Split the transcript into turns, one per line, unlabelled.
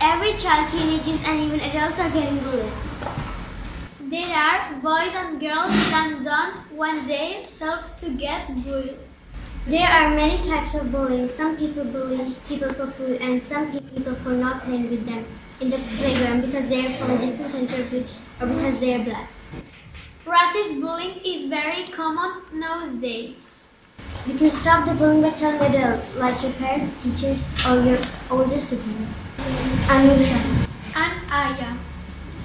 Every child, teenagers, and even adults are getting bullied.
There are boys and girls that don't want themselves to get bullied.
There are many types of bullying. Some people bully people for food, and some people for not playing with them in the playground because they are from a different country or because they are black.
Racist bullying is very common nowadays.
You can stop the bullying by telling adults, like your parents, teachers, or your older siblings. Anusha.
And I am.